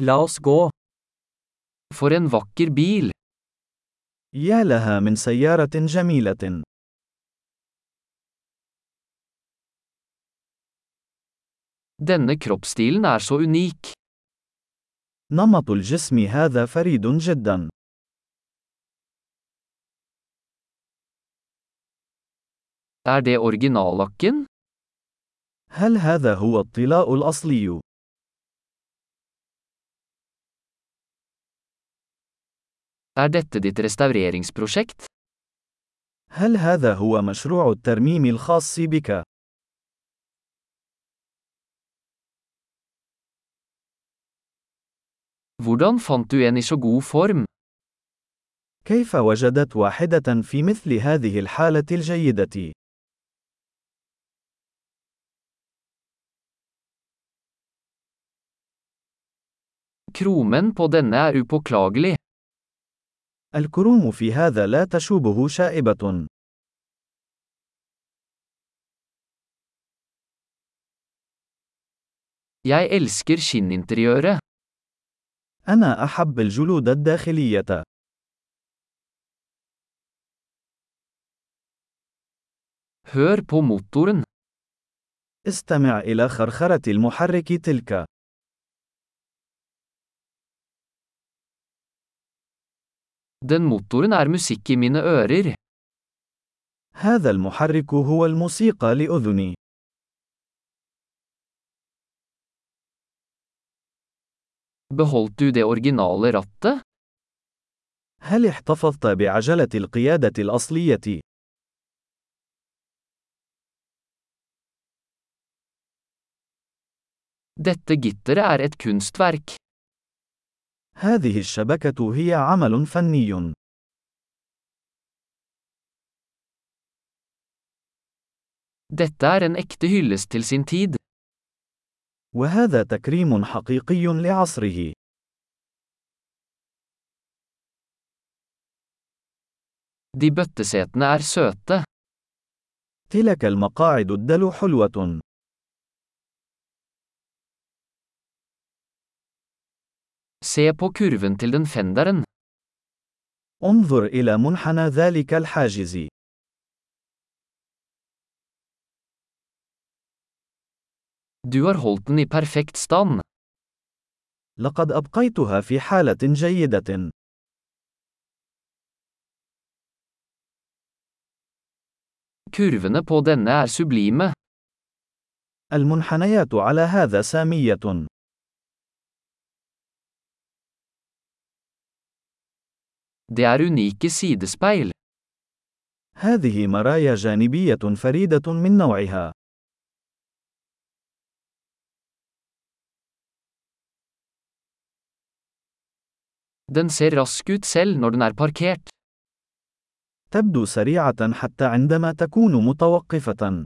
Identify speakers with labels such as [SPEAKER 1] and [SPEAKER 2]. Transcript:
[SPEAKER 1] La oss gå. For en vakker bil.
[SPEAKER 2] يا لها من سيارة جميلة.
[SPEAKER 1] Denne kroppsstilen er så unik.
[SPEAKER 2] نمط الجسم هذا فريد جدا.
[SPEAKER 1] Er det originallakken?
[SPEAKER 2] هل هذا هو الطلاء الأصلي؟
[SPEAKER 1] Er dette ditt restaureringsprosjekt?
[SPEAKER 2] هل هذا هو مشروع الترميم الخاص بك؟
[SPEAKER 1] Hvordan fant du en i så god form?
[SPEAKER 2] كيف وجدت واحدة في مثل هذه الحالة الجيدة؟
[SPEAKER 1] Kromen på denne er upåklagelig.
[SPEAKER 2] الكروم في هذا لا تشوبه شائبة.
[SPEAKER 1] Jeg elsker skinninteriøret.
[SPEAKER 2] أنا أحب الجلود الداخلية.
[SPEAKER 1] Hør på motoren.
[SPEAKER 2] استمع إلى خرخرة المحرك تلك.
[SPEAKER 1] Den motoren er musikk i mine ører.
[SPEAKER 2] هذا المحرك هو الموسيقى لأذني.
[SPEAKER 1] Beholdt du det originale rattet?
[SPEAKER 2] هل احتفظت بعجلة القيادة الأصلية؟
[SPEAKER 1] Dette gitteret er et kunstverk.
[SPEAKER 2] هذه الشبكة هي عمل فني.
[SPEAKER 1] Dette er en ekte hyllest til sin tid.
[SPEAKER 2] وهذا تكريم حقيقي لعصره.
[SPEAKER 1] De bøttesetene er søte.
[SPEAKER 2] تلك المقاعد الدلو حلوة.
[SPEAKER 1] Se på kurven til den fenderen.
[SPEAKER 2] انظر إلى منحنى ذلك الحاجز.
[SPEAKER 1] Du har holdt den i perfekt stand.
[SPEAKER 2] لقد أبقيتها في حالة جيدة.
[SPEAKER 1] Kurvene på denne er sublime.
[SPEAKER 2] المنحنيات على هذا سامية.
[SPEAKER 1] Det er unike sidespeil.
[SPEAKER 2] هذه مرايا جانبية فريدة من نوعها.
[SPEAKER 1] Den ser rask ut selv når den er parkert.
[SPEAKER 2] تبدو سريعة حتى عندما تكون متوقفة.